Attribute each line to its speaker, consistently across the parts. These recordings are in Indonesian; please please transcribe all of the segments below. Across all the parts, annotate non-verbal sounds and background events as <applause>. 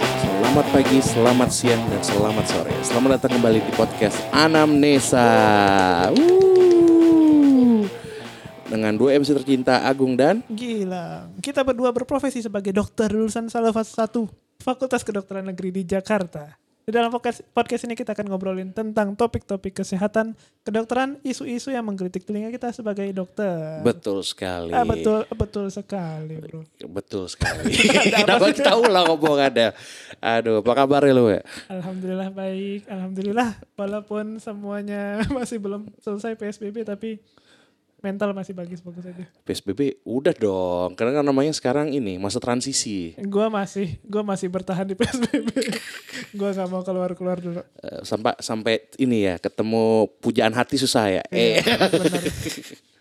Speaker 1: Selamat pagi, selamat siang, dan selamat sore. Selamat datang kembali di podcast Anamnesa. Wuh. Dengan dua MC tercinta Agung dan
Speaker 2: Gila. Kita berdua berprofesi sebagai dokter lulusan salah satu Fakultas Kedokteran Negeri di Jakarta. Di dalam podcast, podcast ini kita akan ngobrolin tentang topik-topik kesehatan, kedokteran, isu-isu yang menggelitik telinga kita sebagai dokter.
Speaker 1: betul sekali.
Speaker 2: Ah, betul, betul sekali, Bro.
Speaker 1: Betul
Speaker 2: <laughs>
Speaker 1: sekali. Kenapa kita ulang omongannya? Aduh, apa kabar lu ya?
Speaker 2: Alhamdulillah baik, alhamdulillah walaupun semuanya <laughs> masih belum selesai PSBB tapi mental masih bagus-bagus aja.
Speaker 1: PSBB udah dong. Karena kan namanya sekarang ini masa transisi.
Speaker 2: Gua masih, gua masih bertahan di PSBB. <laughs> gua nggak mau keluar-keluar dulu.
Speaker 1: Eh, sampai sampai ini ya ketemu pujaan hati susah ya. Eh.
Speaker 2: Iya, Benar.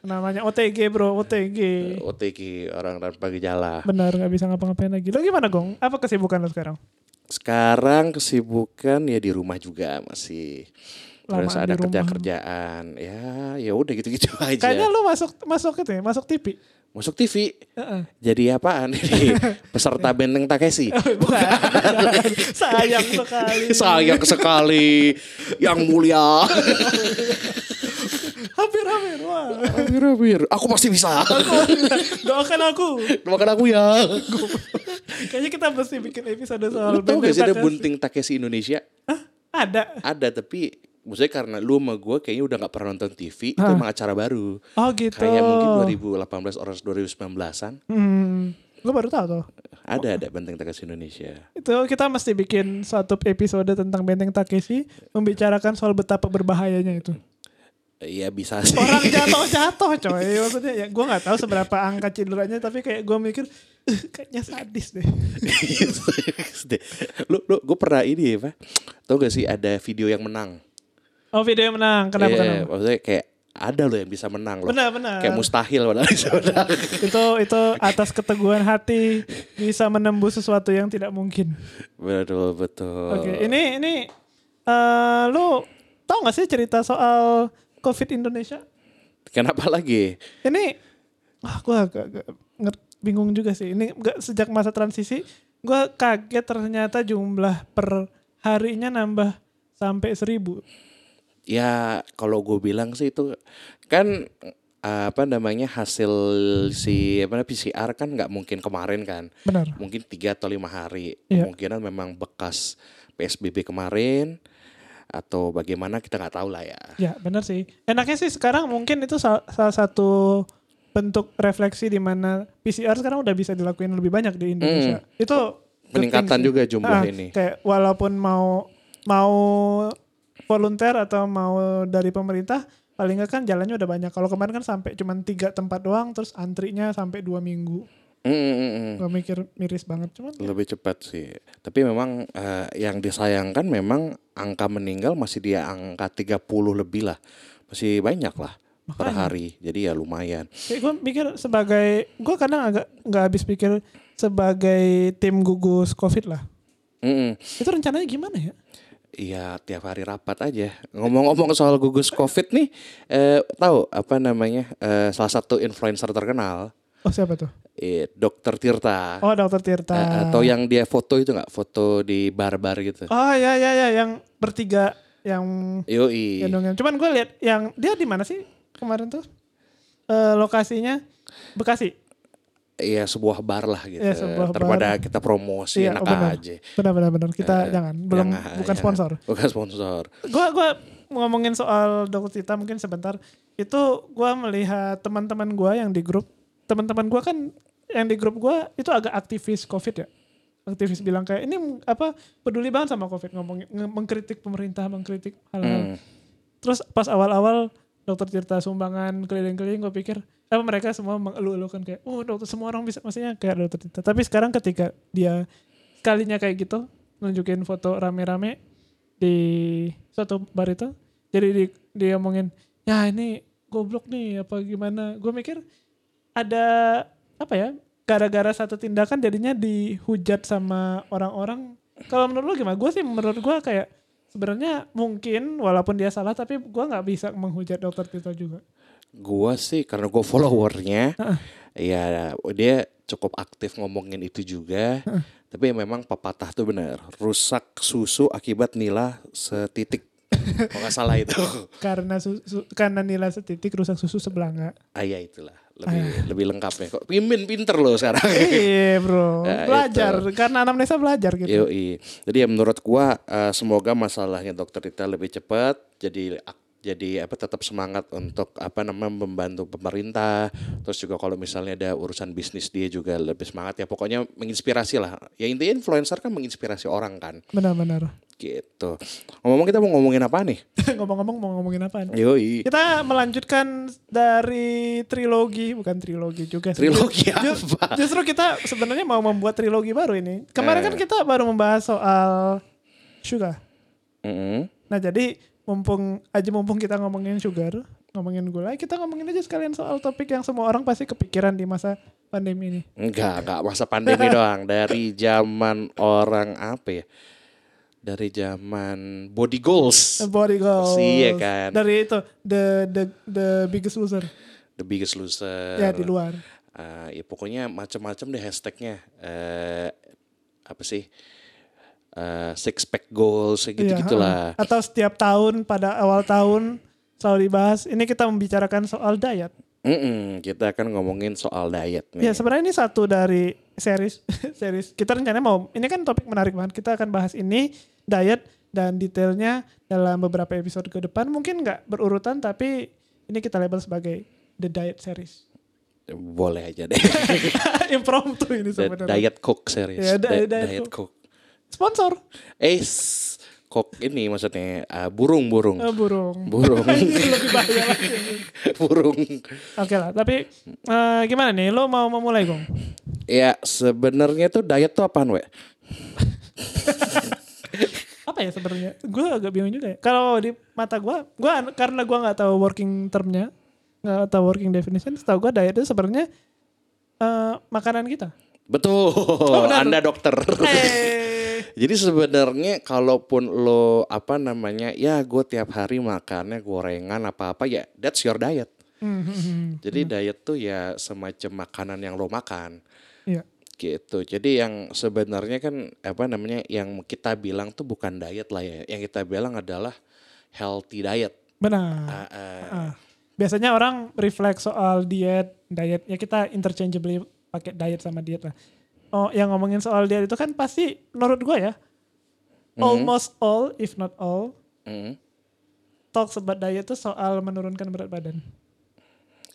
Speaker 2: Namanya OTG bro, OTG.
Speaker 1: Eh, <laughs> OTG orang tanpa gejala.
Speaker 2: Benar, nggak bisa ngapa-ngapain lagi. Lo gimana Gong? Apa kesibukan lo sekarang?
Speaker 1: Sekarang kesibukan ya di rumah juga masih.
Speaker 2: Lamaan
Speaker 1: Terus ada
Speaker 2: di rumah.
Speaker 1: kerja-kerjaan. Ya, ya udah gitu-gitu <laughs> aja.
Speaker 2: Kayaknya lo masuk masuk itu ya, masuk TV.
Speaker 1: Masuk TV.
Speaker 2: Heeh.
Speaker 1: Jadi apaan
Speaker 2: <laughs>
Speaker 1: ini? Peserta benteng Takeshi.
Speaker 2: Eh, <laughs> Bukan. Jangan. Sayang sekali.
Speaker 1: <laughs> Sayang sekali. Yang mulia.
Speaker 2: Hampir-hampir. Wah. <laughs>
Speaker 1: Hampir-hampir. Aku pasti bisa. <laughs>
Speaker 2: Doakan aku.
Speaker 1: Makan aku ya.
Speaker 2: Kayaknya kita mesti bikin episode soal
Speaker 1: Lu tau
Speaker 2: Benteng
Speaker 1: gak sih ada
Speaker 2: Takeshi.
Speaker 1: bunting Takeshi Indonesia?
Speaker 2: Ada.
Speaker 1: Ada tapi maksudnya karena lu sama gue kayaknya udah nggak pernah nonton TV. Itu emang acara baru.
Speaker 2: Oh gitu.
Speaker 1: Kayak mungkin 2018 orang 2019-an.
Speaker 2: Hmm. Lo baru tahu tuh.
Speaker 1: Ada ada benteng Takeshi Indonesia.
Speaker 2: Itu kita mesti bikin satu episode tentang Benteng Takeshi membicarakan soal betapa berbahayanya itu.
Speaker 1: Iya bisa sih.
Speaker 2: orang
Speaker 1: <laughs>
Speaker 2: jatuh-jatuh coy maksudnya ya gue nggak tahu seberapa angka cederanya tapi kayak gue mikir "Eh, kayaknya sadis deh
Speaker 1: Iya. <laughs> lu lu gue pernah ini ya pak. Tau gak sih ada video yang menang.
Speaker 2: oh video yang menang kenapa
Speaker 1: Iya,
Speaker 2: kenapa
Speaker 1: Maksudnya kayak ada loh yang bisa menang loh.
Speaker 2: benar benar
Speaker 1: Kayak mustahil padahal bisa menang. <laughs>
Speaker 2: itu itu atas keteguhan hati bisa menembus sesuatu yang tidak mungkin
Speaker 1: Betul betul.
Speaker 2: oke ini ini eh lu tau gak sih cerita soal covid Indonesia
Speaker 1: Kenapa lagi?
Speaker 2: ini wah gue agak, agak nger- bingung juga sih ini gak, sejak masa transisi gue kaget ternyata jumlah per harinya nambah sampai seribu
Speaker 1: Ya kalau gue bilang sih itu kan apa namanya hasil si apa namanya, PCR kan nggak mungkin kemarin kan.
Speaker 2: benar
Speaker 1: mungkin tiga atau lima hari
Speaker 2: Iya.
Speaker 1: kemungkinan memang bekas PSBB kemarin atau bagaimana kita nggak tahu lah ya
Speaker 2: ya benar sih enaknya sih sekarang mungkin itu sal- salah satu bentuk refleksi di mana PCR sekarang udah bisa dilakuin lebih banyak di Indonesia itu good
Speaker 1: Hmm. peningkatan
Speaker 2: thing sih.
Speaker 1: juga jumlah
Speaker 2: Ah,
Speaker 1: ini
Speaker 2: kayak walaupun mau mau volunteer atau mau dari pemerintah paling nggak kan jalannya udah banyak kalau kemarin kan sampai cuman tiga tempat doang terus antrinya sampai dua minggu
Speaker 1: Mm, mm, mm.
Speaker 2: gue mikir miris banget cuman
Speaker 1: lebih cepat sih tapi memang eh, yang disayangkan memang angka meninggal masih di angka 30 lebih lah masih banyak lah per
Speaker 2: Makanya.
Speaker 1: hari jadi ya lumayan
Speaker 2: Kayak gue mikir sebagai gue kadang agak nggak habis pikir sebagai tim gugus covid lah
Speaker 1: Mm, mm.
Speaker 2: itu rencananya gimana ya
Speaker 1: Iya tiap hari rapat aja. Ngomong-ngomong soal gugus covid nih, eh, tahu apa namanya eh, salah satu influencer terkenal,
Speaker 2: oh siapa tuh
Speaker 1: eh, Dokter Tirta.
Speaker 2: oh dokter Tirta
Speaker 1: Eh, atau yang dia foto itu nggak foto di bar-bar gitu
Speaker 2: oh ya ya ya yang bertiga yang
Speaker 1: yoi
Speaker 2: gendongan cuman gue lihat yang dia di mana sih kemarin tuh Eh, lokasinya Bekasi
Speaker 1: ya sebuah bar lah gitu
Speaker 2: Iya, sebuah
Speaker 1: daripada
Speaker 2: bar.
Speaker 1: kita promosi
Speaker 2: Iya,
Speaker 1: enak
Speaker 2: oh, benar.
Speaker 1: aja
Speaker 2: benar benar benar kita
Speaker 1: Eh,
Speaker 2: jangan belum
Speaker 1: jangan,
Speaker 2: bukan
Speaker 1: ya.
Speaker 2: sponsor
Speaker 1: bukan sponsor
Speaker 2: gue gua ngomongin soal dokter Tita mungkin sebentar itu gue melihat teman-teman gue yang di grup teman-teman gue kan yang di grup gue itu agak aktivis covid ya aktivis bilang kayak ini m- apa peduli banget sama covid ngomong nge- mengkritik pemerintah mengkritik hal-hal
Speaker 1: Hmm.
Speaker 2: terus pas awal-awal dokter Tirta sumbangan keliling-keliling gue pikir apa mereka semua mengeluh-eluhkan kayak oh dokter semua orang bisa maksudnya kayak dokter Tirta tapi sekarang ketika dia sekalinya kayak gitu nunjukin foto rame-rame di suatu bar itu jadi di, diomongin ya ini goblok nih apa gimana gue mikir ada apa ya gara-gara satu tindakan jadinya dihujat sama orang-orang kalau menurut lu gimana gue sih menurut gue kayak sebenarnya mungkin walaupun dia salah tapi gue nggak bisa menghujat dokter Tito juga
Speaker 1: gua sih karena gua followernya ya iya, dia cukup aktif ngomongin itu juga. Tapi memang pepatah tuh benar, rusak susu akibat nila setitik. Kalau nggak salah
Speaker 2: <laughs>
Speaker 1: itu.
Speaker 2: karena susu, karena nilai setitik rusak susu sebelanga.
Speaker 1: Ayah Ah, iya, itulah, lebih
Speaker 2: Ah.
Speaker 1: lebih lengkapnya. Kok pimpin pinter loh
Speaker 2: <laughs>
Speaker 1: sekarang.
Speaker 2: <laughs> Iya bro, Nah,
Speaker 1: Ya,
Speaker 2: belajar karena anamnesa belajar gitu.
Speaker 1: Yoi. Jadi ya menurut gua eh, semoga masalahnya dokter Rita lebih cepat jadi ak- jadi apa tetap semangat untuk apa namanya membantu pemerintah terus juga kalau misalnya ada urusan bisnis dia juga lebih semangat ya pokoknya menginspirasi lah ya intinya influencer kan menginspirasi orang kan
Speaker 2: Benar-benar. <laughs>
Speaker 1: gitu ngomong kita mau ngomongin apa nih
Speaker 2: Ngomong-ngomong mau ngomongin apaan?
Speaker 1: yoi
Speaker 2: Kita melanjutkan dari trilogi, bukan trilogi juga. sih.
Speaker 1: trilogi
Speaker 2: Ju-
Speaker 1: apa
Speaker 2: Justru kita sebenarnya mau membuat trilogi baru ini. Kemarin
Speaker 1: Eh.
Speaker 2: kan kita baru membahas soal sugar.
Speaker 1: Mm-mm.
Speaker 2: Nah jadi mumpung aja mumpung kita ngomongin sugar, ngomongin gula, kita ngomongin aja sekalian soal topik yang semua orang pasti kepikiran di masa pandemi ini.
Speaker 1: Enggak, enggak masa <laughs> pandemi doang. Dari zaman orang apa ya? Dari zaman body goals.
Speaker 2: Body goals.
Speaker 1: Iya kan.
Speaker 2: Dari itu the the the biggest loser
Speaker 1: The biggest loser.
Speaker 2: ya di luar.
Speaker 1: Eh, ya pokoknya macam-macam deh hashtagnya. Eh apa sih? Eh, six pack goals
Speaker 2: Iya,
Speaker 1: gitu-gitulah.
Speaker 2: ha-ha. Atau setiap tahun pada awal tahun selalu dibahas. Ini kita membicarakan soal diet.
Speaker 1: Mm-mm, kita akan ngomongin soal diet nih.
Speaker 2: Ya sebenarnya ini satu dari series <laughs> series kita rencananya mau ini kan topik menarik banget kita akan bahas ini diet dan detailnya dalam beberapa episode ke depan mungkin nggak berurutan tapi ini kita label sebagai the diet series <laughs>
Speaker 1: Boleh aja deh.
Speaker 2: Iya, impromptu ini
Speaker 1: Da-
Speaker 2: sebenarnya
Speaker 1: diet Coke series.
Speaker 2: Iya,
Speaker 1: Da-
Speaker 2: di- Diet
Speaker 1: diet Coke.
Speaker 2: sponsor
Speaker 1: Eh, s- Coke ini maksudnya eh, burung-burung.
Speaker 2: eh, burung
Speaker 1: Burung.
Speaker 2: <laughs>
Speaker 1: <laughs>
Speaker 2: Ini lebih bahaya lagi.
Speaker 1: burung.
Speaker 2: oke lah tapi eh, gimana nih lo mau memulai gong
Speaker 1: Ya sebenarnya tuh diet tuh apaan we?
Speaker 2: apa ya sebenarnya gue agak bingung juga ya kalau di mata gue gue an- karena gue nggak tahu working termnya nggak tahu working definition setahu gue diet itu sebenarnya eh, makanan kita
Speaker 1: Betul,
Speaker 2: Oh, benar.
Speaker 1: anda dokter.
Speaker 2: eh
Speaker 1: Jadi sebenarnya kalaupun lo apa namanya ya gue tiap hari makannya gorengan apa-apa ya that's your diet.
Speaker 2: Hmm,
Speaker 1: Jadi diet tuh ya semacam makanan yang lo makan
Speaker 2: iya
Speaker 1: gitu. Jadi yang sebenarnya kan apa namanya yang kita bilang tuh bukan diet lah ya. Yang kita bilang adalah healthy diet.
Speaker 2: benar
Speaker 1: Ah, ah.
Speaker 2: Ah. biasanya orang refleks soal diet diet ya kita interchangeably pakai diet sama diet lah oh yang ngomongin soal diet itu kan pasti menurut gue ya almost all if not all
Speaker 1: Mm.
Speaker 2: talks about diet itu soal menurunkan berat badan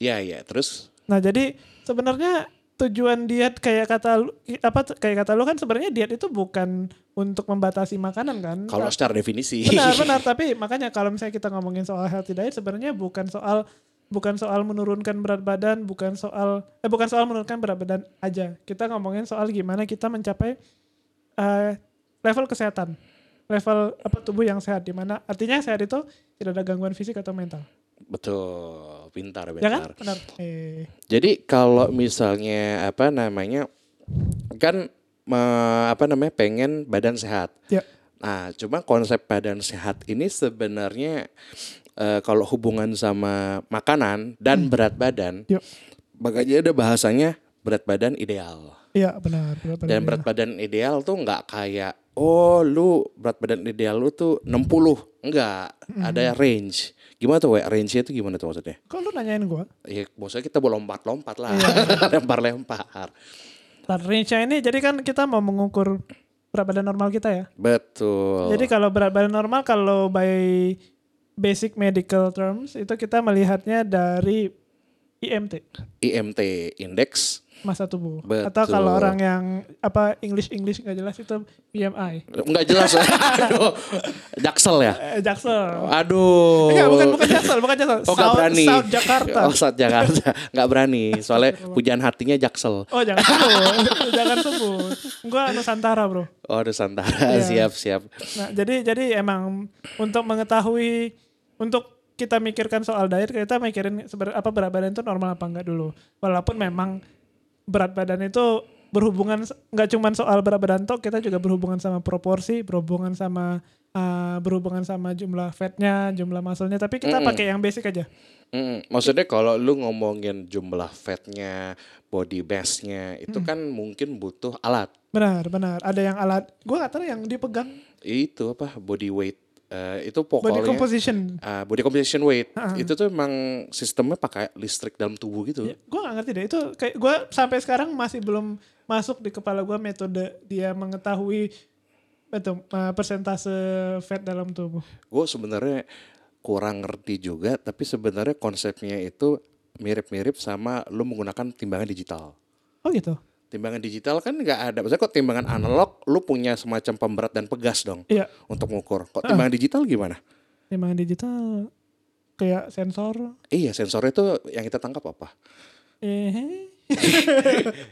Speaker 1: Ya ya terus
Speaker 2: Nah, jadi sebenarnya tujuan diet kayak kata lu- apa t- kayak kata lu kan sebenarnya diet itu bukan untuk membatasi makanan kan?
Speaker 1: kalau secara definisi.
Speaker 2: benar benar tapi makanya kalau misalnya kita ngomongin soal healthy diet sebenarnya bukan soal bukan soal menurunkan berat badan, bukan soal eh bukan soal menurunkan berat badan aja. Kita ngomongin soal gimana kita mencapai eh, level kesehatan. Level apa tubuh yang sehat di mana artinya sehat itu tidak ada gangguan fisik atau mental.
Speaker 1: <laughs> Betul, pintar
Speaker 2: Ya kan?
Speaker 1: pintar.
Speaker 2: Benar. Eh.
Speaker 1: Jadi kalau misalnya apa namanya kan me- apa namanya pengen badan sehat.
Speaker 2: Ya.
Speaker 1: Nah, cuma konsep badan sehat ini sebenarnya eh, kalau hubungan sama makanan dan berat badan,
Speaker 2: Yuk.
Speaker 1: makanya ada bahasanya berat badan ideal.
Speaker 2: Iya, benar. berat badan
Speaker 1: Dan berat badan ideal tuh nggak kayak oh lu berat badan ideal lu tuh 60. Enggak, ada range. Gimana tuh, we? range-nya itu gimana tuh maksudnya?
Speaker 2: Kok lu nanyain gue?
Speaker 1: ya maksudnya kita boleh lompat-lompat lah, <laughs>
Speaker 2: Iya.
Speaker 1: lempar-lempar.
Speaker 2: Range-nya ini jadi kan kita mau mengukur berat badan normal kita ya.
Speaker 1: Betul.
Speaker 2: Jadi kalau berat badan normal kalau by basic medical terms itu kita melihatnya dari IMT,
Speaker 1: IMT indeks
Speaker 2: massa tubuh.
Speaker 1: Betul.
Speaker 2: Atau kalau orang yang apa English English nggak jelas itu E BMI.
Speaker 1: nggak jelas. <laughs> Aduh. Jaksel ya.
Speaker 2: Eh, Jaksel.
Speaker 1: Aduh.
Speaker 2: Enggak, bukan bukan Jaksel, bukan Jaksel.
Speaker 1: Oh nggak
Speaker 2: South,
Speaker 1: berani.
Speaker 2: South Jakarta.
Speaker 1: Oh South Jakarta. <laughs> Nggak berani. Soalnya pujaan hatinya Jaksel.
Speaker 2: Oh, jangan sebut. <laughs> jangan sebut. Gua Nusantara, Bro.
Speaker 1: Oh Nusantara.
Speaker 2: Iya.
Speaker 1: Siap siap.
Speaker 2: Nah, jadi jadi emang untuk mengetahui untuk kita mikirkan soal diet kita mikirin seber- apa berat badan itu normal apa enggak dulu. Walaupun memang berat badan itu berhubungan s- nggak cuman soal berapa danto kita juga berhubungan sama proporsi berhubungan sama uh, berhubungan sama jumlah fatnya jumlah muscle-nya tapi kita
Speaker 1: Mm-mm.
Speaker 2: pakai yang basic aja
Speaker 1: Mm, maksudnya kalau lu ngomongin jumlah fatnya, body mass-nya,
Speaker 2: Mm.
Speaker 1: itu kan mungkin butuh alat.
Speaker 2: benar benar ada yang alat gua nggak tahu yang dipegang
Speaker 1: Itu apa body weight? Eh, itu
Speaker 2: body
Speaker 1: pokoknya body,
Speaker 2: composition
Speaker 1: uh, body composition weight.
Speaker 2: Ha-ha.
Speaker 1: Itu tuh emang sistemnya pakai listrik dalam tubuh gitu.
Speaker 2: Ya, gue gak ngerti deh itu kayak gue sampai sekarang masih belum masuk di kepala gue metode dia mengetahui itu eh, persentase fat dalam tubuh
Speaker 1: Gue sebenarnya kurang ngerti juga, tapi sebenarnya konsepnya itu mirip-mirip sama lu menggunakan timbangan digital.
Speaker 2: oh gitu
Speaker 1: Timbangan digital kan nggak ada. Maksudnya kok timbangan analog lu punya semacam pemberat dan pegas dong
Speaker 2: iya
Speaker 1: untuk mengukur. Kok timbangan digital gimana?
Speaker 2: timbangan digital kayak sensor
Speaker 1: Iya, sensornya tuh yang kita tangkap apa?
Speaker 2: eh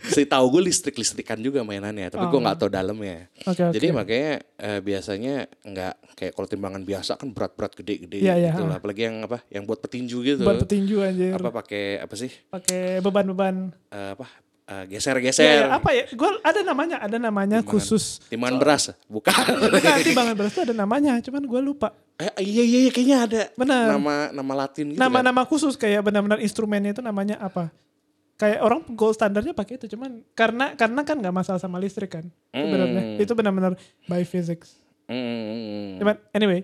Speaker 1: Setahu gue listrik-listrikan juga mainannya, tapi gue
Speaker 2: Oh.
Speaker 1: nggak tahu dalamnya.
Speaker 2: oke oke
Speaker 1: Jadi makanya eh, biasanya nggak kayak kalau timbangan biasa kan berat-berat gede-gede
Speaker 2: Iya, iya,
Speaker 1: gitu lah.
Speaker 2: ah.
Speaker 1: Apalagi yang apa? Yang buat petinju gitu.
Speaker 2: buat petinju anjir
Speaker 1: apa pakai apa sih?
Speaker 2: pakai beban-beban
Speaker 1: Eh, apa? Eh,
Speaker 2: ya,
Speaker 1: geser-geser.
Speaker 2: ya, apa ya gue ada namanya ada namanya
Speaker 1: Timbangan.
Speaker 2: khusus
Speaker 1: Timbangan beras, bukan?
Speaker 2: bukan timbangan beras itu ada namanya cuman gue lupa
Speaker 1: <laughs> eh, iya, iya iya kayaknya ada.
Speaker 2: Benar.
Speaker 1: Nama nama Latin gitu. kan?
Speaker 2: nama-nama khusus kayak benar-benar instrumennya itu namanya apa kayak orang gold standarnya pakai itu cuman karena karena kan nggak masalah sama listrik kan sebenarnya
Speaker 1: Hmm.
Speaker 2: itu benar-benar by physics
Speaker 1: Hmm.
Speaker 2: cuman anyway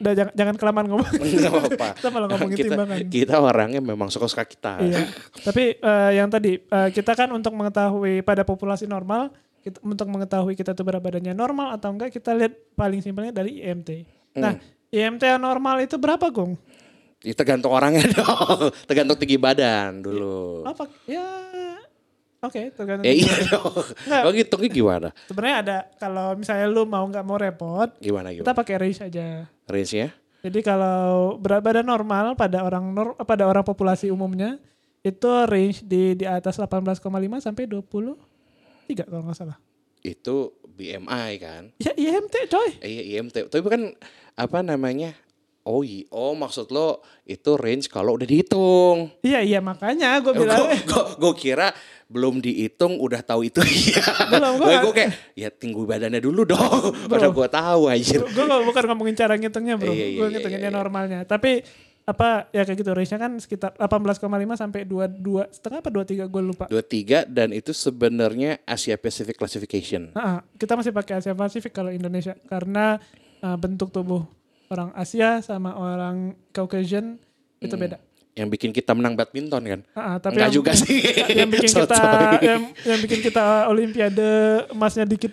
Speaker 2: udah jangan, jangan kelamaan ngomong
Speaker 1: <laughs> Nggak apa-apa.
Speaker 2: <laughs> kita malah ngomongin
Speaker 1: kita,
Speaker 2: timbangan
Speaker 1: kita orangnya memang suka-suka kita.
Speaker 2: iya tapi eh, yang tadi eh, kita kan untuk mengetahui pada populasi normal kita, untuk mengetahui kita tuh berat badannya normal atau enggak kita lihat paling simpelnya dari IMT
Speaker 1: Hmm.
Speaker 2: nah IMT yang normal itu berapa gong
Speaker 1: Ya, tergantung orangnya <laughs> dong. Tergantung tinggi badan dulu.
Speaker 2: apa ya oke tergantung
Speaker 1: Ya iya
Speaker 2: Oh,
Speaker 1: dong. Kau ngitungnya gimana?
Speaker 2: Sebenarnya ada kalau misalnya lu mau nggak mau repot,
Speaker 1: Gimana
Speaker 2: kita
Speaker 1: gimana?
Speaker 2: pakai range aja.
Speaker 1: Range-nya?
Speaker 2: Jadi kalau berat badan normal pada orang nor- pada orang populasi umumnya itu range di di atas 18,5 sampai 20 tiga kalau nggak salah.
Speaker 1: Itu BMI kan?
Speaker 2: Ya IMT coy.
Speaker 1: Eh, Iya IMT. Tapi kan apa namanya? Oh iya, oh maksud lo itu range kalau udah dihitung.
Speaker 2: Iya iya makanya gue
Speaker 1: Gue <laughs>
Speaker 2: bilang eh,
Speaker 1: kira belum dihitung udah tahu itu <laughs> iya.
Speaker 2: Belum, gua
Speaker 1: Gua-
Speaker 2: nggak-
Speaker 1: gua kayak ya tinggi badannya dulu dong. <laughs> Padahal gue tahu anjir.
Speaker 2: gue bukan ngomongin cara ngitungnya bro,
Speaker 1: Iya, iya,
Speaker 2: gue
Speaker 1: iya,
Speaker 2: ngitunginnya
Speaker 1: iya, iya.
Speaker 2: normalnya. Tapi apa ya kayak gitu range-nya kan sekitar 18,5 sampai 22 setengah apa 23 gue lupa.
Speaker 1: 23 dan itu sebenarnya Asia Pacific Classification.
Speaker 2: Ah, ah. kita masih pakai Asia Pasifik kalau Indonesia karena ah, bentuk tubuh orang Asia sama orang Caucasian itu beda.
Speaker 1: Yang bikin kita menang badminton kan?
Speaker 2: Ah, ah,
Speaker 1: Tapi
Speaker 2: tapi yang,
Speaker 1: Hmm.
Speaker 2: <laughs>
Speaker 1: juga sih.
Speaker 2: yang
Speaker 1: <laughs>
Speaker 2: bikin
Speaker 1: So-
Speaker 2: kita
Speaker 1: sorry.
Speaker 2: yang, yang bikin kita Olimpiade emasnya dikit.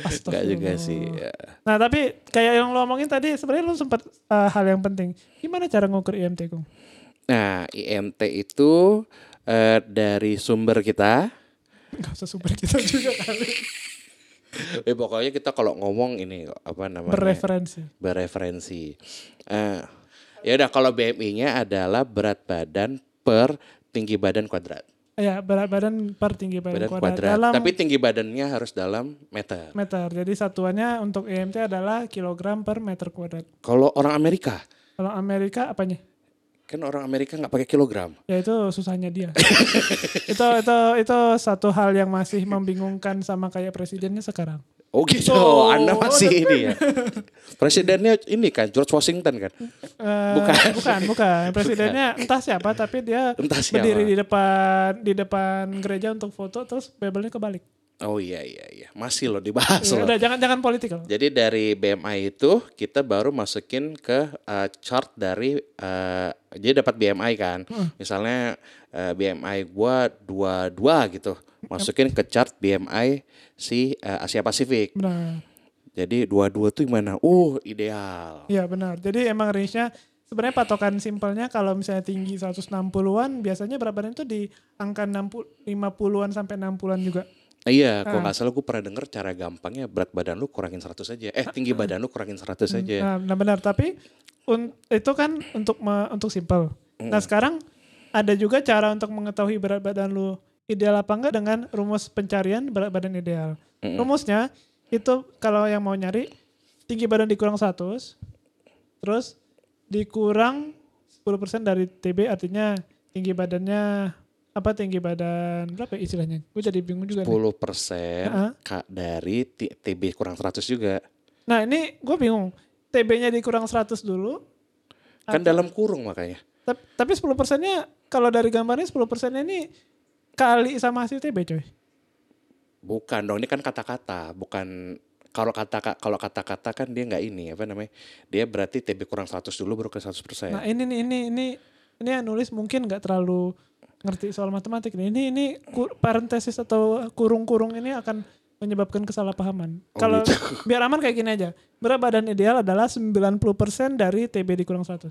Speaker 1: Nggak
Speaker 2: Astagfirullah.
Speaker 1: juga sih. ya.
Speaker 2: Nah tapi kayak yang lo omongin tadi sebenarnya lo sempat ah, hal yang penting. Gimana cara ngukur IMT Kung? <laughs>
Speaker 1: Nah, IMT itu eh, dari sumber kita.
Speaker 2: Gak usah super kita juga kali.
Speaker 1: <laughs> Eh, pokoknya kita kalau ngomong ini apa namanya?
Speaker 2: Berreferensi.
Speaker 1: Bereferensi. Eh, ya udah kalau BMI-nya adalah berat badan per tinggi badan kuadrat.
Speaker 2: Ya berat badan per tinggi badan,
Speaker 1: Badan
Speaker 2: kuadrat.
Speaker 1: kuadrat.
Speaker 2: Dalam
Speaker 1: Tapi tinggi badannya harus dalam meter.
Speaker 2: meter. Jadi satuannya untuk IMT adalah kilogram per meter kuadrat.
Speaker 1: Kalau orang Amerika,
Speaker 2: Kalau Amerika apanya?
Speaker 1: kan orang Amerika nggak pakai kilogram.
Speaker 2: Ya itu
Speaker 1: <laughs>
Speaker 2: susahnya dia. itu itu itu satu hal yang masih membingungkan sama kayak presidennya sekarang.
Speaker 1: Oh gitu,
Speaker 2: Oh.
Speaker 1: <laughs> Anda masih ini ya. Presidennya ini kan George Washington kan.
Speaker 2: Eh,
Speaker 1: Bukan.
Speaker 2: bukan, bukan. Presidennya entah siapa tapi dia
Speaker 1: Entah siapa.
Speaker 2: berdiri di depan di depan gereja untuk foto terus bebelnya kebalik.
Speaker 1: Oh iya iya iya, masih loh dibahas
Speaker 2: Ya
Speaker 1: loh.
Speaker 2: udah jangan jangan politik loh.
Speaker 1: Jadi dari BMI itu kita baru masukin ke eh, chart dari eh, jadi dapat BMI kan. Misalnya eh, BMI gua 22 gitu. Masukin ke chart BMI si eh, Asia Pasifik.
Speaker 2: Benar.
Speaker 1: Jadi 22 tuh gimana? Uh, ideal.
Speaker 2: Iya benar. Jadi emang range-nya sebenarnya patokan simpelnya kalau misalnya tinggi 160-an biasanya berat badan itu di angka 60 50-an sampai 60-an juga.
Speaker 1: Eh, Iya, kalau nggak salah gue pernah denger cara gampangnya berat badan lu kurangin 100 aja. Eh, tinggi badan lu kurangin 100 aja.
Speaker 2: Nah, nah, benar, tapi un- itu kan untuk me- untuk simple. Nah, sekarang ada juga cara untuk mengetahui berat badan lu ideal apa enggak dengan rumus pencarian berat badan ideal. Rumusnya itu kalau yang mau nyari tinggi badan dikurang 100 terus dikurang 10% dari TB artinya tinggi badannya apa tinggi badan berapa ya istilahnya? Gue jadi bingung juga nih.
Speaker 1: 10 persen
Speaker 2: Heeh.
Speaker 1: dari T- TB kurang 100 juga.
Speaker 2: Nah ini gue bingung. TB-nya dikurang 100 dulu.
Speaker 1: Kan dalam kurung makanya.
Speaker 2: Tap- Tapi 10 persennya kalau dari gambarnya 10 persennya ini kali sama hasil TB
Speaker 1: Oh,
Speaker 2: coy.
Speaker 1: Bukan dong, ini kan kata-kata, bukan kalau kata kalau kata-kata kan dia nggak ini apa namanya? Dia berarti TB kurang 100 dulu baru ke 100 persen.
Speaker 2: Nah ini nih ini ini ini yang nulis mungkin nggak terlalu ngerti soal matematik nih. Ini ini ku- parentesis atau kurung-kurung ini akan menyebabkan kesalahpahaman.
Speaker 1: Oh,
Speaker 2: Kalau
Speaker 1: gitu.
Speaker 2: <laughs> biar aman kayak gini aja. Berat badan ideal adalah 90% dari TB dikurang 100.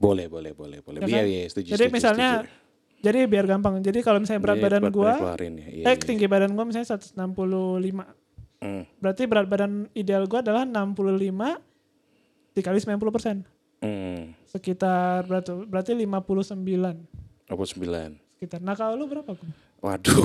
Speaker 1: Boleh, boleh, boleh, boleh.
Speaker 2: Ya
Speaker 1: Iya,
Speaker 2: kan?
Speaker 1: iya, setuju.
Speaker 2: Jadi
Speaker 1: setuju,
Speaker 2: misalnya
Speaker 1: setuju.
Speaker 2: jadi biar gampang. Jadi kalau misalnya berat
Speaker 1: Jadi
Speaker 2: badan
Speaker 1: Iya, buat- buat
Speaker 2: gua
Speaker 1: dikeluarin ya, iya,
Speaker 2: eh
Speaker 1: iya.
Speaker 2: tinggi badan gua misalnya 165.
Speaker 1: Hmm,
Speaker 2: Berarti berat badan ideal gua adalah 65 dikali 90%.
Speaker 1: hmm.
Speaker 2: Sekitar berarti berarti 59
Speaker 1: 29.
Speaker 2: sekitar. Nah kalau lu berapa Kum?
Speaker 1: Waduh.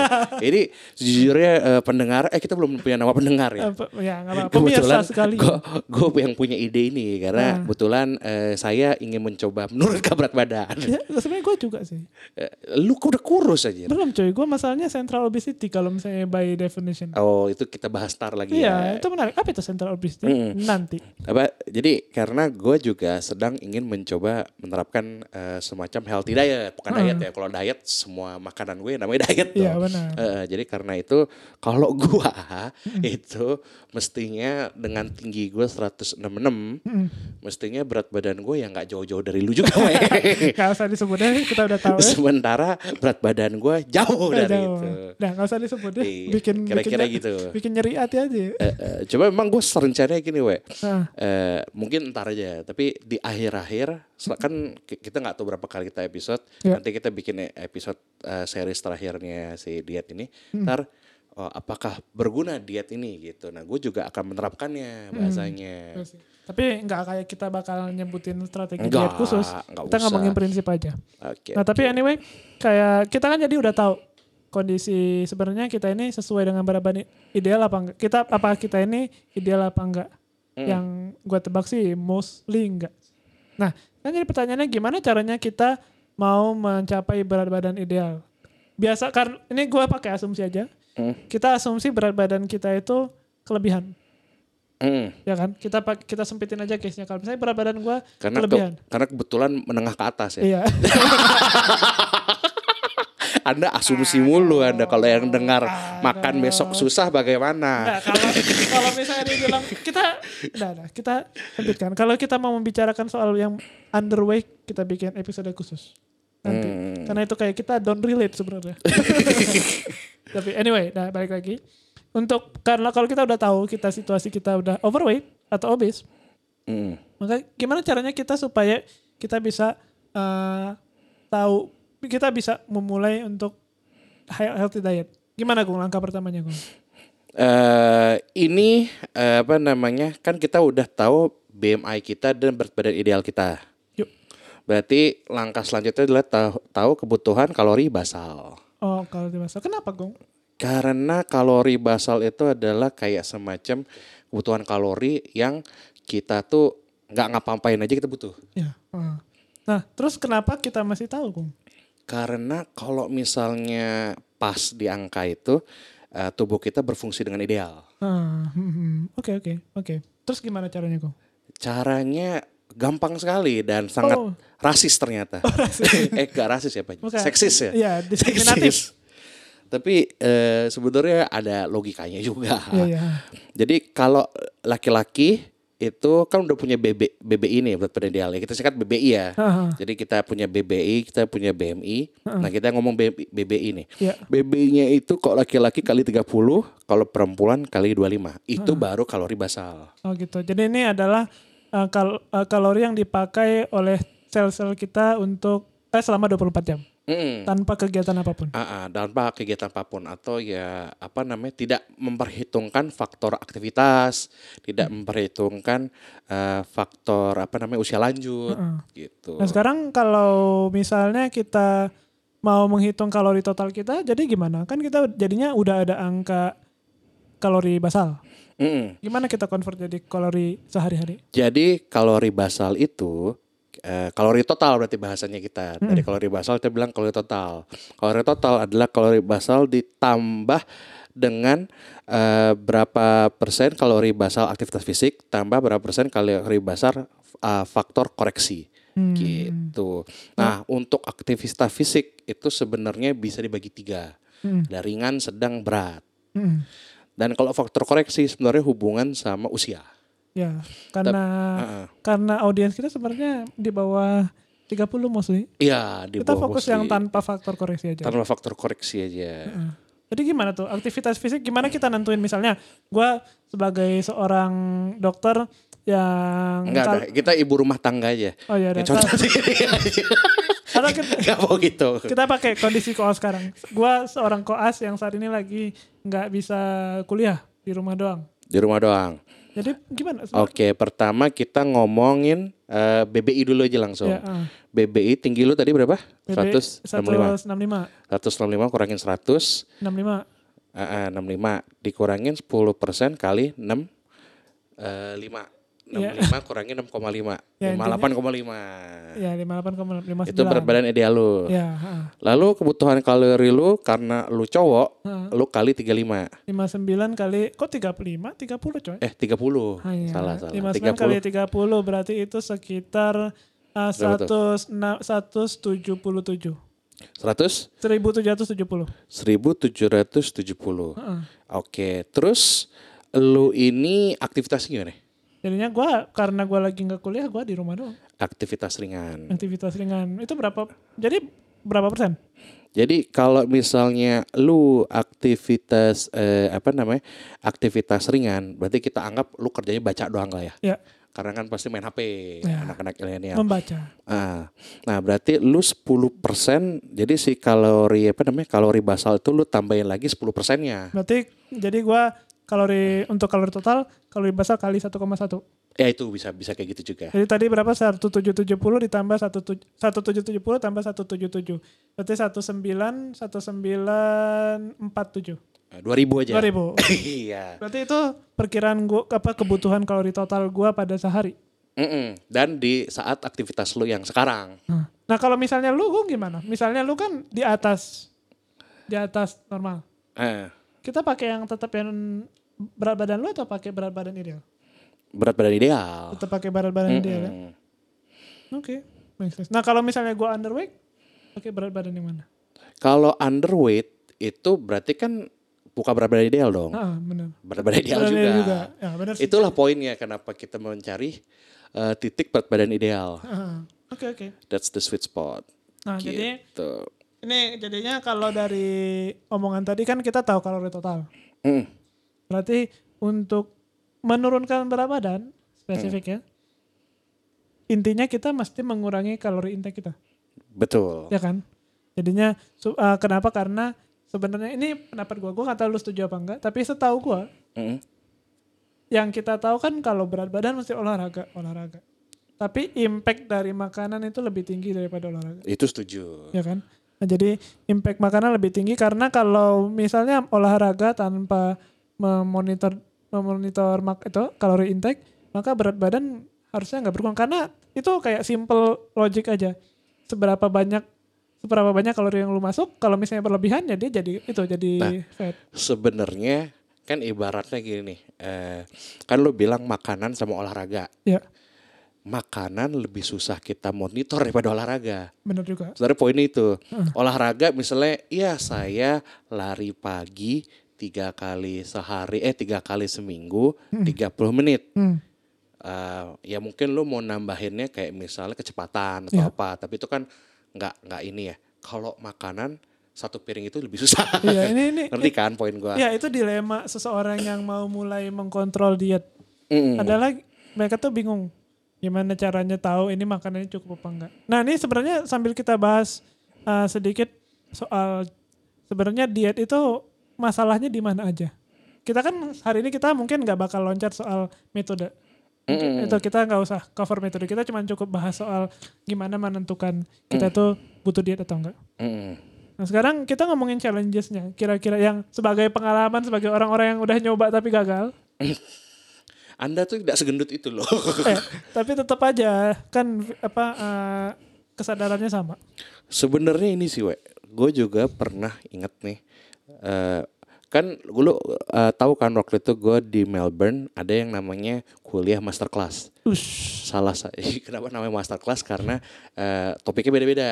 Speaker 2: <laughs>
Speaker 1: ini sejujurnya eh, pendengar eh kita belum punya nama pendengar ya.
Speaker 2: Apa- ya nggak
Speaker 1: <laughs>
Speaker 2: apa-apa. Pemirsa
Speaker 1: Kebetulan
Speaker 2: sekali. Nah.
Speaker 1: gue yang punya ide ini karena kebetulan eh, saya ingin mencoba menurunkan berat
Speaker 2: <laughs>
Speaker 1: badan.
Speaker 2: Ya, sebenarnya gue juga sih.
Speaker 1: Eh, Lu udah kurus aja.
Speaker 2: Belum coy, gue masalahnya central obesity kalau misalnya by definition.
Speaker 1: Oh itu kita bahas tar lagi
Speaker 2: Iya,
Speaker 1: ya. Mm.
Speaker 2: itu menarik. Apa itu central obesity? Nanti.
Speaker 1: Apa, jadi karena gue juga sedang ingin mencoba menerapkan eh, semacam healthy diet, bukan diet ya. Kalau diet semua makanan gue namanya diet.
Speaker 2: Hmm. Iya,
Speaker 1: dong.
Speaker 2: benar. Hmm.
Speaker 1: Eh, jadi karena itu kalau gue itu mestinya dengan tinggi gue 166, mestinya berat badan gue yang nggak jauh-jauh dari lu
Speaker 2: <laughs>
Speaker 1: juga. weh.
Speaker 2: Gak usah disebut deh, kita udah
Speaker 1: <laughs>
Speaker 2: tahu ya.
Speaker 1: Sementara berat badan gue jauh
Speaker 2: Udah
Speaker 1: dari
Speaker 2: jauh.
Speaker 1: itu.
Speaker 2: Nah, gak usah disebut deh.
Speaker 1: gitu. Iya,
Speaker 2: Bikin
Speaker 1: kira-kira
Speaker 2: bikin,
Speaker 1: gitu.
Speaker 2: Bikin nyeri hati aja. ya.
Speaker 1: Eh, eh, cuma memang gue rencananya gini we,
Speaker 2: Nah,
Speaker 1: Eh, mungkin ntar aja. Tapi di akhir-akhir, sel- kan ki- kita nggak tahu berapa kali kita episode.
Speaker 2: Iya.
Speaker 1: Nanti kita bikin e- episode eh, series terakhirnya si diet ini.
Speaker 2: Hmm.
Speaker 1: Ntar oh, apakah berguna diet ini gitu. Nah gue juga akan menerapkannya bahasanya.
Speaker 2: Hmm. terus. tapi nggak kayak kita bakal nyebutin strategi
Speaker 1: Enggak,
Speaker 2: diet khusus.
Speaker 1: enggak
Speaker 2: kita
Speaker 1: usah.
Speaker 2: ngomongin prinsip aja.
Speaker 1: Oke.
Speaker 2: Nah, tapi anyway, kayak kita kan jadi udah tahu kondisi sebenarnya kita ini sesuai dengan berat badan ideal apa enggak. Kita apa kita ini ideal apa enggak?
Speaker 1: Hmm.
Speaker 2: Yang gua tebak sih mostly enggak. Nah, kan jadi pertanyaannya gimana caranya kita mau mencapai berat badan ideal? Biasa karena ini gua pakai asumsi aja.
Speaker 1: Hmm,
Speaker 2: Kita asumsi berat badan kita itu kelebihan,
Speaker 1: Mm.
Speaker 2: ya kan? Kita pak- kita sempitin aja case-nya kalau misalnya berat badan gua
Speaker 1: Karena ke-
Speaker 2: kelebihan.
Speaker 1: karena kebetulan menengah ke atas ya.
Speaker 2: Iya.
Speaker 1: Anda asumsi mulu Anda kalau yang dengar
Speaker 2: Ah,
Speaker 1: makan besok susah bagaimana?
Speaker 2: Nah, <laughs> kalau kalau misalnya dibilang kita nah, nah, kita sempitkan. Kalau kita mau membicarakan soal yang underweight, kita bikin episode khusus nanti.
Speaker 1: Hmm.
Speaker 2: Karena itu kayak kita don't relate
Speaker 1: <laughs>
Speaker 2: sebenarnya. Tapi anyway, nah balik lagi. Untuk karena kalau kita udah tahu kita situasi kita udah overweight atau obese,
Speaker 1: Mm.
Speaker 2: maka gimana caranya kita supaya kita bisa eh, tahu kita bisa memulai untuk healthy diet. Gimana Gung langkah pertamanya Gung?
Speaker 1: eh ini eh, apa namanya? Kan kita udah tahu BMI kita dan berat badan ideal kita.
Speaker 2: Yuk.
Speaker 1: Berarti langkah selanjutnya adalah tahu, tahu kebutuhan kalori basal.
Speaker 2: Oh, kalau dewasa. Kenapa, Gong?
Speaker 1: Karena kalori basal itu adalah kayak semacam kebutuhan kalori yang kita tuh nggak ngapain aja kita butuh.
Speaker 2: Ya. heeh. Nah, terus kenapa kita masih tahu, Gong?
Speaker 1: Karena kalau misalnya pas di angka itu eh, tubuh kita berfungsi dengan ideal.
Speaker 2: Ah, hmm, hmm. Oke, oke, oke. Terus gimana caranya, Gong?
Speaker 1: caranya gampang sekali dan sangat
Speaker 2: Oh.
Speaker 1: rasis
Speaker 2: <laughs>
Speaker 1: ternyata. <laughs> eh gak rasis ya Pak?
Speaker 2: Bukan.
Speaker 1: Seksis ya? <laughs>
Speaker 2: Iya,
Speaker 1: Seksis.
Speaker 2: diskriminatif.
Speaker 1: Tapi eh, sebenarnya ada logikanya juga.
Speaker 2: Iya, iya.
Speaker 1: Jadi kalau laki-laki itu kan udah punya BB, BBI nih berat badan idealnya. Kita singkat BBI ya.
Speaker 2: Heeh.
Speaker 1: Jadi kita punya BBI, kita punya BMI. Nah kita ngomong BBI, nih.
Speaker 2: Iya.
Speaker 1: BBI-nya itu kalau laki-laki kali 30, kalau perempuan kali 25. Itu baru kalori basal.
Speaker 2: Oh, gitu. Jadi ini adalah eh, kal- eh, kalori yang dipakai oleh sel-sel kita untuk eh, selama 24 jam
Speaker 1: Mm.
Speaker 2: tanpa kegiatan apapun. Nah,
Speaker 1: Ah, ah, tanpa kegiatan apapun atau ya apa namanya tidak memperhitungkan faktor aktivitas, tidak memperhitungkan eh, faktor apa namanya usia lanjut gitu.
Speaker 2: Nah, sekarang kalau misalnya kita mau menghitung kalori total kita, jadi gimana? Kan kita jadinya udah ada angka kalori basal.
Speaker 1: Mm-mm.
Speaker 2: Gimana kita convert jadi kalori sehari-hari?
Speaker 1: Jadi kalori basal itu eh, kalori total berarti bahasanya kita. Dari kalori basal kita bilang kalori total. Kalori total adalah kalori basal ditambah dengan eh, berapa persen kalori basal aktivitas fisik tambah berapa persen kalori basal eh, faktor koreksi. Gitu. Nah, untuk aktivitas fisik itu sebenarnya bisa dibagi tiga. Ada ringan, sedang, berat.
Speaker 2: Mm.
Speaker 1: Dan kalau faktor koreksi sebenarnya hubungan sama usia.
Speaker 2: Ya, karena
Speaker 1: Heeh.
Speaker 2: karena audiens kita sebenarnya di bawah 30 maksudnya.
Speaker 1: Iya, di
Speaker 2: Kita
Speaker 1: bawah
Speaker 2: fokus
Speaker 1: mostly
Speaker 2: yang tanpa faktor koreksi aja. Nah,
Speaker 1: tanpa faktor koreksi aja.
Speaker 2: Jadi gimana tuh aktivitas fisik? Gimana kita nentuin misalnya? Gua sebagai seorang dokter yang
Speaker 1: Enggak ada,
Speaker 2: kal-
Speaker 1: kita ibu rumah tangga aja.
Speaker 2: Oh iya,
Speaker 1: Ya,
Speaker 2: ada.
Speaker 1: contoh sendiri aja.
Speaker 2: Atau kita,
Speaker 1: <laughs> Enggak mau gitu.
Speaker 2: kita pakai kondisi koas sekarang. Gua seorang koas yang saat ini lagi nggak bisa kuliah di rumah doang.
Speaker 1: Di rumah doang.
Speaker 2: Jadi gimana?
Speaker 1: Oke, pertama kita ngomongin eh, BBI dulu aja langsung.
Speaker 2: Ya, ah.
Speaker 1: BBI tinggi lu tadi berapa?
Speaker 2: BB
Speaker 1: 165.
Speaker 2: 165.
Speaker 1: 165
Speaker 2: 65.
Speaker 1: kurangin 100, eh, eh, 65 dikurangin 10% kali eh, 6 5. 65
Speaker 2: Iya.
Speaker 1: kurangin 6,5.
Speaker 2: Ya, intinya-
Speaker 1: 58,5.
Speaker 2: Ya, 58,59.
Speaker 1: Itu berat badan ideal lu.
Speaker 2: Ya, ah.
Speaker 1: Lalu kebutuhan kalori lu karena lu cowok,
Speaker 2: Heeh.
Speaker 1: lu kali 35.
Speaker 2: 59 kali kok 35? 30 coy. Ah,
Speaker 1: Eh 30.
Speaker 2: Hanya
Speaker 1: Salah salah.
Speaker 2: 59 iya. kali 30 berarti itu sekitar uh,
Speaker 1: Berapa
Speaker 2: 100 na- 177. ya.
Speaker 1: 100
Speaker 2: 1770.
Speaker 1: 1770.
Speaker 2: Heeh.
Speaker 1: Oke, terus lu ini aktivitasnya gimana?
Speaker 2: Jadinya gua karena gua lagi nggak kuliah gua di rumah doang.
Speaker 1: Aktivitas ringan.
Speaker 2: Aktivitas ringan. Itu berapa? Jadi berapa persen?
Speaker 1: Jadi kalau misalnya lu aktivitas eh, apa namanya? aktivitas ringan, berarti kita anggap lu kerjanya baca doang lah ya.
Speaker 2: Ya,
Speaker 1: Karena kan pasti main HP
Speaker 2: Ya.
Speaker 1: anak-anak milenial.
Speaker 2: membaca.
Speaker 1: Ah, nah berarti lu 10% jadi si kalori apa namanya kalori basal itu lu tambahin lagi 10 persennya.
Speaker 2: Berarti jadi gua kalori untuk kalori total kalori basal kali 1,1.
Speaker 1: Ya itu bisa bisa kayak gitu juga.
Speaker 2: Jadi tadi berapa? 1770 ditambah 1770 tambah 177. Berarti 19 1947.
Speaker 1: Eh, 2000 aja.
Speaker 2: 2000.
Speaker 1: <laughs> iya.
Speaker 2: Berarti itu perkiraan gua apa kebutuhan kalori total gua pada sehari.
Speaker 1: Mm-mm. Dan di saat aktivitas lu yang sekarang
Speaker 2: Nah, kalau misalnya lu gua gimana? Misalnya lu kan di atas di atas normal.
Speaker 1: eh,
Speaker 2: Kita pakai yang tetap yang berat badan lu atau pakai berat badan ideal?
Speaker 1: berat badan ideal.
Speaker 2: Tetap pakai berat badan ideal ya.
Speaker 1: Mm.
Speaker 2: Oke. makes sense. Nah, kalau misalnya gua underweight, pakai berat badan yang mana?
Speaker 1: Kalau underweight itu berarti kan bukan berat badan ideal dong.
Speaker 2: Ah, benar.
Speaker 1: Berat badan ideal
Speaker 2: Berat
Speaker 1: juga.
Speaker 2: badan Ya, benar sih.
Speaker 1: Itulah poinnya kenapa kita mencari eh, titik berat badan ideal.
Speaker 2: Ah, Oke, oke.
Speaker 1: That's the sweet spot.
Speaker 2: Nah, jadi
Speaker 1: gitu.
Speaker 2: ini jadinya kalau dari omongan tadi kan kita tahu kalori total.
Speaker 1: Mm.
Speaker 2: Berarti untuk menurunkan berat badan spesifik
Speaker 1: Mm.
Speaker 2: ya. Intinya kita mesti mengurangi kalori intake kita,
Speaker 1: Betul.
Speaker 2: ya kan? Jadinya su- eh, kenapa? Karena sebenarnya ini pendapat gua, gua nggak tahu lu setuju apa enggak, tapi setahu gua
Speaker 1: Mm.
Speaker 2: yang kita tahu kan kalau berat badan mesti olahraga, olahraga. Tapi impact dari makanan itu lebih tinggi daripada olahraga.
Speaker 1: Itu setuju.
Speaker 2: ya kan? Nah, jadi impact makanan lebih tinggi karena kalau misalnya olahraga tanpa memonitor memonitor mak itu kalori intake, maka berat badan harusnya nggak berkurang karena itu kayak simple logic aja. Seberapa banyak seberapa banyak kalori yang lu masuk, kalau misalnya berlebihan ya dia jadi itu jadi
Speaker 1: Nah.
Speaker 2: fat.
Speaker 1: Sebenarnya kan ibaratnya gini nih. eh, kan lu bilang makanan sama olahraga.
Speaker 2: Ya,
Speaker 1: Makanan lebih susah kita monitor daripada olahraga.
Speaker 2: benar juga.
Speaker 1: Sebenarnya poinnya itu. Olahraga misalnya, iya saya lari pagi tiga kali sehari, eh tiga kali seminggu, 30 menit.
Speaker 2: Hmm.
Speaker 1: Eh, ya mungkin lu mau nambahinnya kayak misalnya kecepatan atau
Speaker 2: Iya.
Speaker 1: apa, tapi itu kan nggak nggak ini ya. Kalau makanan satu piring itu lebih <laughs> susah.
Speaker 2: Iya, ini ini
Speaker 1: Ngerti kan poin gua?
Speaker 2: ya itu dilema seseorang yang mau mulai mengkontrol diet.
Speaker 1: Mm-mm.
Speaker 2: adalah mereka tuh bingung gimana caranya tahu ini makanannya cukup apa enggak. Nah ini sebenarnya sambil kita bahas uh, sedikit soal sebenarnya diet itu masalahnya di mana aja. Kita kan hari ini kita mungkin nggak bakal loncat soal metode.
Speaker 1: Mm-mm.
Speaker 2: Itu kita nggak usah cover metode. Kita cuma cukup bahas soal gimana menentukan
Speaker 1: Mm.
Speaker 2: kita tuh butuh diet atau enggak.
Speaker 1: Mm-mm.
Speaker 2: Nah sekarang kita ngomongin challengesnya. Kira-kira yang sebagai pengalaman sebagai orang-orang yang udah nyoba tapi gagal.
Speaker 1: Anda tuh tidak segendut itu loh.
Speaker 2: Eh, tapi tetap aja kan apa eh, kesadarannya sama.
Speaker 1: <laughs> Sebenarnya ini sih, we, gue juga pernah inget nih. eh, kan lu eh, tahu kan waktu itu gue di Melbourne ada yang namanya kuliah masterclass.
Speaker 2: Ush.
Speaker 1: Salah sa- <laughs> kenapa namanya masterclass karena eh, topiknya beda-beda.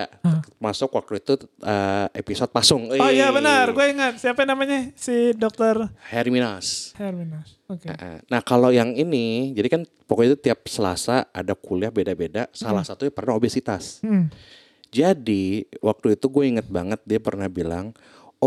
Speaker 1: Masuk waktu itu eh, episode pasung.
Speaker 2: Oh iya
Speaker 1: Eh,
Speaker 2: benar, gue ingat. Siapa namanya? Si Dokter
Speaker 1: Herminas.
Speaker 2: Herminas. Oke.
Speaker 1: Heeh. Nah kalau yang ini, jadi kan pokoknya itu tiap Selasa ada kuliah beda-beda. Salah satunya pernah obesitas.
Speaker 2: Hmm.
Speaker 1: Jadi waktu itu gue inget banget dia pernah bilang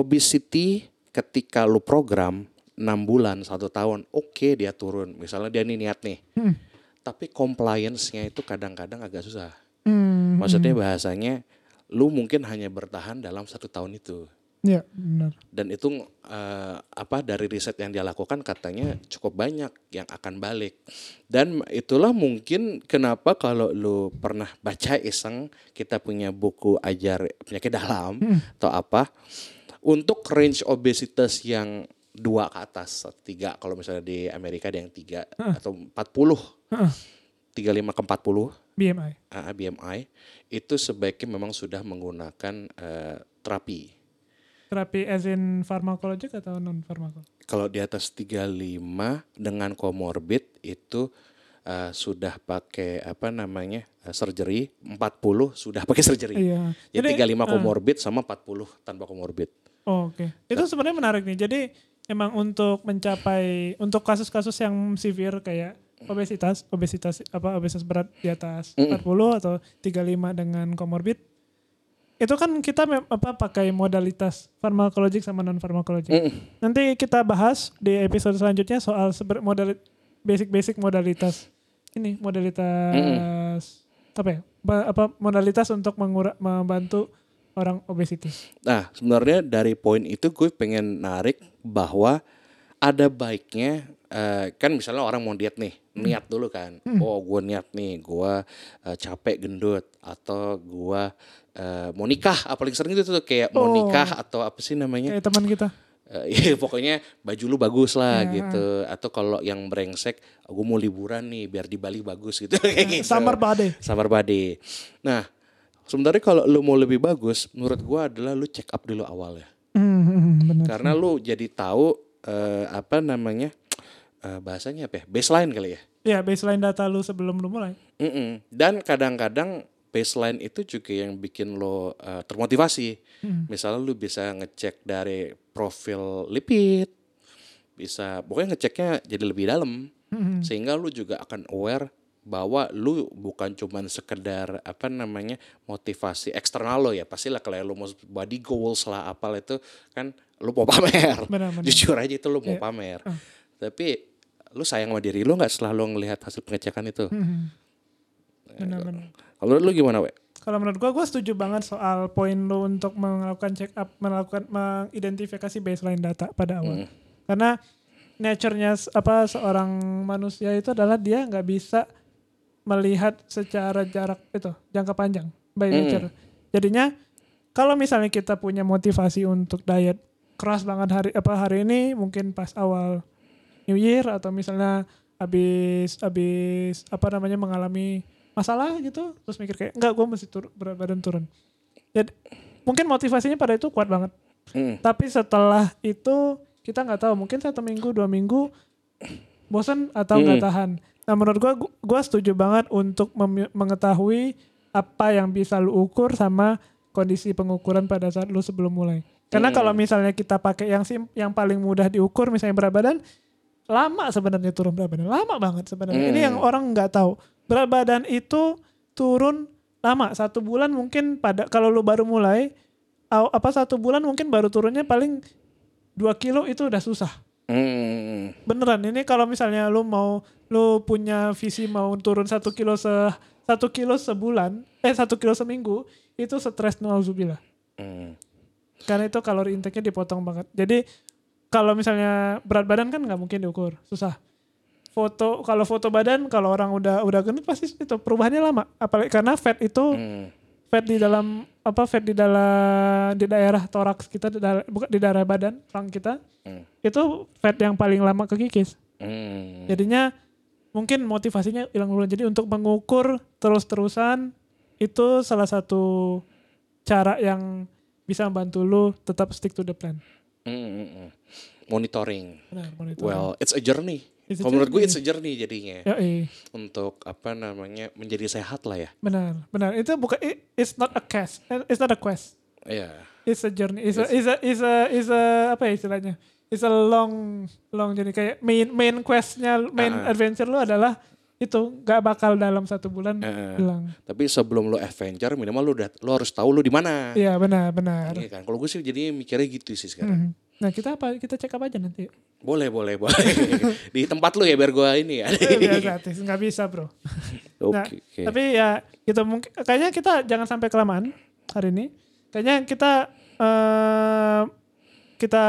Speaker 1: obesity ketika lu program 6 bulan satu tahun oke dia turun. Misalnya dia nih niat nih,
Speaker 2: Hmm.
Speaker 1: tapi compliance-nya itu kadang-kadang agak susah.
Speaker 2: Hmm.
Speaker 1: Maksudnya bahasanya lu mungkin hanya bertahan dalam satu tahun itu
Speaker 2: Iya, benar.
Speaker 1: dan itu eh, apa dari riset yang dia lakukan katanya cukup banyak yang akan balik dan itulah mungkin kenapa kalau lu pernah baca iseng kita punya buku ajar penyakit dalam atau apa untuk range obesitas yang dua ke atas tiga kalau misalnya di Amerika ada yang tiga atau 40
Speaker 2: Heeh.
Speaker 1: 35 ke 40
Speaker 2: BMI.
Speaker 1: AA BMI itu sebaiknya memang sudah menggunakan eh, terapi
Speaker 2: Terapi as in farmakologik atau non farmakologik?
Speaker 1: kalau di atas 35 dengan komorbid itu eh, sudah pakai apa namanya eh, surgery 40 sudah pakai surgery.
Speaker 2: Iya.
Speaker 1: Ya
Speaker 2: Jadi,
Speaker 1: 35
Speaker 2: ah.
Speaker 1: komorbid sama 40 tanpa komorbid.
Speaker 2: Oh, Oke. Itu sebenarnya menarik nih. Jadi emang untuk mencapai untuk kasus-kasus yang severe kayak obesitas, obesitas apa obesitas berat di atas 40 atau 35 dengan komorbid itu kan kita mem- apa pakai modalitas farmakologik sama non farmakologik. Nanti kita bahas di episode selanjutnya soal seber- modali- basic-basic modalitas ini modalitas apa ya? Ba- apa modalitas untuk mengura- membantu orang obesitas.
Speaker 1: Nah, sebenarnya dari poin itu gue pengen narik bahwa ada baiknya eh, kan misalnya orang mau diet nih, niat dulu kan. Oh, gue niat nih, gue eh, capek gendut atau gue eh, mau nikah, apalagi sering itu tuh kayak mau
Speaker 2: Oh.
Speaker 1: nikah atau apa sih namanya?
Speaker 2: Kayak teman kita.
Speaker 1: Eh, <laughs> iya, pokoknya baju lu bagus lah gitu atau kalau yang brengsek gue mau liburan nih biar di Bali bagus gitu <laughs> kayak gitu
Speaker 2: Summer body.
Speaker 1: Summer body. nah sebenarnya kalau lu mau lebih bagus menurut gua adalah lu check up dulu awalnya
Speaker 2: Hmm, benar.
Speaker 1: karena lu jadi tahu eh, apa namanya eh, bahasanya apa ya baseline kali ya
Speaker 2: Ya baseline data lu sebelum lu mulai.
Speaker 1: Mm-mm. Dan kadang-kadang baseline itu juga yang bikin lo uh, termotivasi. Misalnya lo bisa ngecek dari profil lipid, bisa pokoknya ngeceknya jadi lebih dalam, sehingga lo juga akan aware bahwa lu bukan cuman sekedar apa namanya motivasi eksternal lo ya pastilah kalau lu mau body goals lah apal itu kan lu mau pamer
Speaker 2: <laughs> Benar, benar.
Speaker 1: jujur aja itu lu mau
Speaker 2: Iya.
Speaker 1: pamer tapi lu sayang sama diri lu nggak selalu ngelihat hasil pengecekan itu
Speaker 2: Hmm.
Speaker 1: Ya,
Speaker 2: Benar-benar.
Speaker 1: kalau menurut lu gimana, We?
Speaker 2: Kalau menurut gua, gua setuju banget soal poin lu untuk melakukan check up, melakukan mengidentifikasi baseline data pada awal. Karena nature-nya s- apa seorang manusia itu adalah dia nggak bisa melihat secara jarak itu jangka panjang by nature. Jadinya kalau misalnya kita punya motivasi untuk diet keras banget hari apa hari ini mungkin pas awal New Year atau misalnya habis habis apa namanya mengalami masalah gitu terus mikir kayak enggak gue mesti tur- berat badan turun. Jadi mungkin motivasinya pada itu kuat banget.
Speaker 1: Mm.
Speaker 2: Tapi setelah itu kita nggak tahu mungkin satu minggu dua minggu bosan atau nggak tahan. Nah menurut gua gu- gua setuju banget untuk mem- mengetahui apa yang bisa lu ukur sama kondisi pengukuran pada saat lu sebelum mulai. Karena kalau misalnya kita pakai yang sim- yang paling mudah diukur misalnya berat badan lama sebenarnya turun berat badan lama banget sebenarnya. Ini yang orang nggak tahu berat badan itu turun lama satu bulan mungkin pada kalau lu baru mulai aw- apa satu bulan mungkin baru turunnya paling dua kilo itu udah susah
Speaker 1: Hmm.
Speaker 2: beneran ini kalau misalnya lu mau lu punya visi mau turun satu kilo se satu kilo sebulan eh satu kilo seminggu itu stres nauzubillah
Speaker 1: Hmm.
Speaker 2: karena itu kalori intake-nya dipotong banget jadi kalau misalnya berat badan kan nggak mungkin diukur susah foto kalau foto badan kalau orang udah udah gendut pasti itu perubahannya lama apalagi karena fat itu
Speaker 1: Hmm.
Speaker 2: fat di dalam apa fat di dalam di daerah toraks kita di daerah, bukan di daerah badan orang kita
Speaker 1: Hmm.
Speaker 2: itu fat yang paling lama kekikis
Speaker 1: Hmm.
Speaker 2: Jadinya mungkin motivasinya hilang duluan. Jadi untuk mengukur terus-terusan itu salah satu cara yang bisa membantu lu tetap stick to the plan.
Speaker 1: Mm, mm, mm. Monitoring.
Speaker 2: Benar, monitoring.
Speaker 1: Well, it's a journey.
Speaker 2: Gitu. It's a
Speaker 1: Kalau menurut gue
Speaker 2: journey.
Speaker 1: it's a journey jadinya.
Speaker 2: Yoi,
Speaker 1: Untuk apa namanya menjadi sehat lah ya.
Speaker 2: benar, benar. Itu bukan i- it's not a quest. Eh, It's not a quest.
Speaker 1: Iya.
Speaker 2: It's a journey. It's a, it's a, it's a, it's a apa ya istilahnya? It's a long, long journey. Kayak main main questnya, main
Speaker 1: Ah.
Speaker 2: adventure lu adalah itu nggak bakal dalam satu bulan
Speaker 1: Eh,
Speaker 2: hilang.
Speaker 1: Tapi sebelum lo adventure minimal lo udah lo harus tahu lo di mana.
Speaker 2: Iya benar, benar.
Speaker 1: Iya kan. Kalau gue sih jadinya mikirnya gitu sih sekarang.
Speaker 2: Mhm. Nah kita apa? Kita cek apa
Speaker 1: <laughs>
Speaker 2: aja nanti?
Speaker 1: Boleh, boleh, boleh. <laughs> di tempat lo ya biar gue ini ya.
Speaker 2: Eh, Biar gratis, nggak bisa bro. Nah,
Speaker 1: <laughs> Oke. oke.
Speaker 2: Tapi ya gitu mungkin kayaknya kita jangan sampai kelamaan hari ini. Kayaknya kita eh kita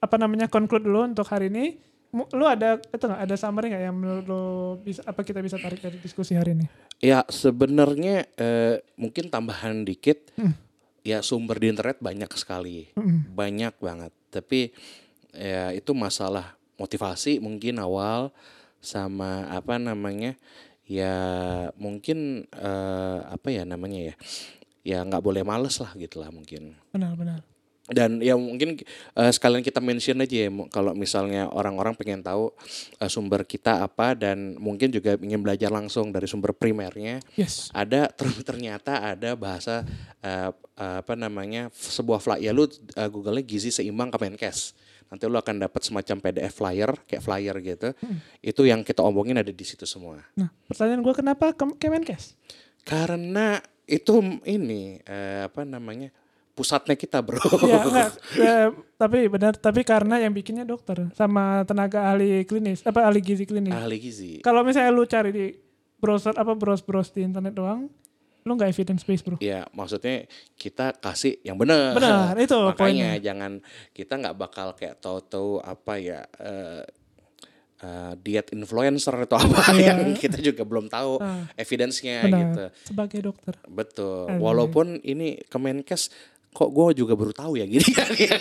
Speaker 2: apa namanya conclude dulu untuk hari ini. Mu- Lu ada itu nggak ada summary nggak yang menurut lu bisa apa kita bisa tarik dari diskusi hari ini?
Speaker 1: Ya sebenarnya eh, mungkin tambahan dikit. Ya sumber di internet banyak sekali.
Speaker 2: Mm-mm.
Speaker 1: banyak banget tapi ya itu masalah motivasi mungkin awal sama apa namanya ya mungkin eh, apa ya namanya ya ya nggak boleh males lah gitu lah mungkin
Speaker 2: Benar benar.
Speaker 1: dan ya mungkin eh, sekalian kita mention aja ya mu- kalau misalnya orang-orang pengen tahu eh, sumber kita apa dan mungkin juga ingin belajar langsung dari sumber primernya
Speaker 2: Yes.
Speaker 1: ada ter- ternyata ada bahasa eh, apa namanya f- sebuah flyer ya lu eh, google-nya gizi seimbang Kemenkes nanti lu akan dapat semacam PDF flyer kayak flyer gitu itu yang kita omongin ada di situ semua
Speaker 2: Nah pertanyaan gue kenapa Kem- Kemenkes?
Speaker 1: karena itu m- ini eh, apa namanya pusatnya kita bro
Speaker 2: ya enggak. Eh, tapi benar. Tapi karena yang bikinnya dokter sama tenaga ahli klinis apa ahli gizi klinis.
Speaker 1: ahli gizi
Speaker 2: Kalau misalnya lu cari di browser apa browse-browse di internet doang, lu nggak evidence based bro.
Speaker 1: ya maksudnya kita kasih yang benar
Speaker 2: Benar, itu
Speaker 1: makanya
Speaker 2: poinnya.
Speaker 1: jangan kita nggak bakal kayak tahu-tahu apa ya eh, eh, diet influencer atau apa <laughs> yang kita juga belum tahu
Speaker 2: Iya. Ah.
Speaker 1: evidence-nya
Speaker 2: Benar. Iya.
Speaker 1: gitu
Speaker 2: Sebagai dokter.
Speaker 1: betul
Speaker 2: Aduh.
Speaker 1: walaupun ini Kemenkes kok gue juga baru tahu ya gini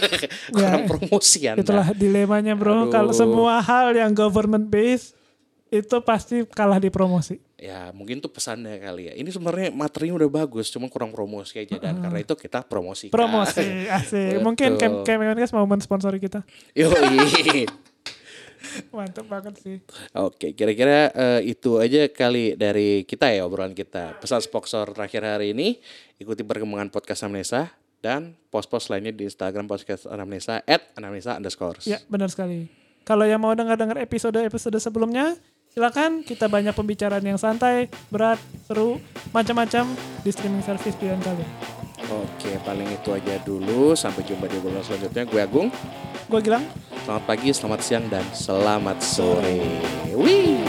Speaker 1: <laughs> kurang promosian
Speaker 2: Iya. Itulah dilemanya bro.
Speaker 1: Iya, Aduh.
Speaker 2: Kalau semua hal yang government based itu pasti kalah di promosi.
Speaker 1: ya mungkin tuh pesannya kali ya ini sebenarnya materinya udah bagus cuma kurang promosi aja dan karena itu kita promosikan <laughs>
Speaker 2: Promosi asik.
Speaker 1: Iya.
Speaker 2: Mungkin
Speaker 1: Betul.
Speaker 2: Kem Kemenkes mau mensponsori kita.
Speaker 1: Yoi.
Speaker 2: Mantap banget sih.
Speaker 1: Oke, kira-kira eh, itu aja kali dari kita ya obrolan kita. Pesan sponsor terakhir hari ini, ikuti perkembangan podcast Amnesa dan post-post lainnya di Instagram podcast Anamnesa at anamnesa underscore.
Speaker 2: Ya benar sekali. Kalau yang mau dengar-dengar episode-episode sebelumnya, silakan kita banyak pembicaraan yang santai, berat, seru, macam-macam di streaming service pilihan kalian.
Speaker 1: Oke, paling itu aja dulu. Sampai jumpa di obrolan selanjutnya. Gue Agung,
Speaker 2: Gue Gilang,
Speaker 1: selamat pagi, selamat siang, dan selamat sore. Wih!